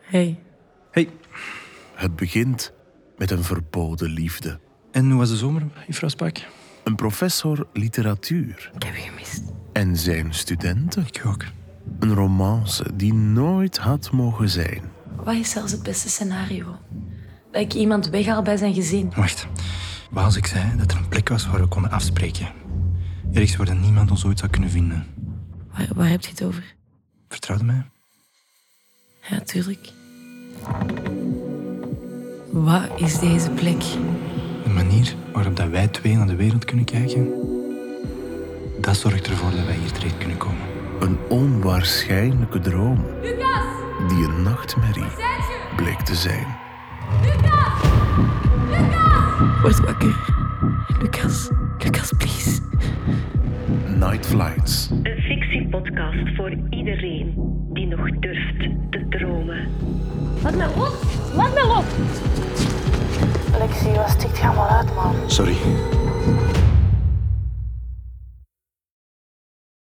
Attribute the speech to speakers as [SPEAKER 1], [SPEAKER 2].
[SPEAKER 1] Hey.
[SPEAKER 2] Hey,
[SPEAKER 3] Het begint met een verboden liefde.
[SPEAKER 2] en hoe was de zomer, juffrouw Spaak?
[SPEAKER 3] Een professor literatuur
[SPEAKER 1] Ik heb je gemist.
[SPEAKER 3] en zijn studenten.
[SPEAKER 2] Ik ook.
[SPEAKER 3] Een romance die nooit had mogen zijn.
[SPEAKER 1] Wat is zelfs het beste scenario? Dat ik iemand weghaal bij zijn gezin.
[SPEAKER 2] Wacht. Waals ik zei dat er een plek was waar we konden afspreken. Ergens waar dan niemand ons ooit zou kunnen vinden.
[SPEAKER 1] Waar, waar heb je het over?
[SPEAKER 2] Vertrouwde mij?
[SPEAKER 1] Ja, tuurlijk. Wat is deze plek?
[SPEAKER 2] De manier waarop dat wij twee naar de wereld kunnen kijken, dat zorgt ervoor dat wij hier terecht kunnen komen.
[SPEAKER 3] Een onwaarschijnlijke droom. Die een nachtmerrie bleek te zijn.
[SPEAKER 1] Word wakker. Lucas, Lucas, please.
[SPEAKER 3] Night Flights.
[SPEAKER 4] Een fictiepodcast voor iedereen die nog durft te dromen.
[SPEAKER 5] Laat me los! Laat me los! Lexi, wat stikt je allemaal uit, man?
[SPEAKER 6] Sorry.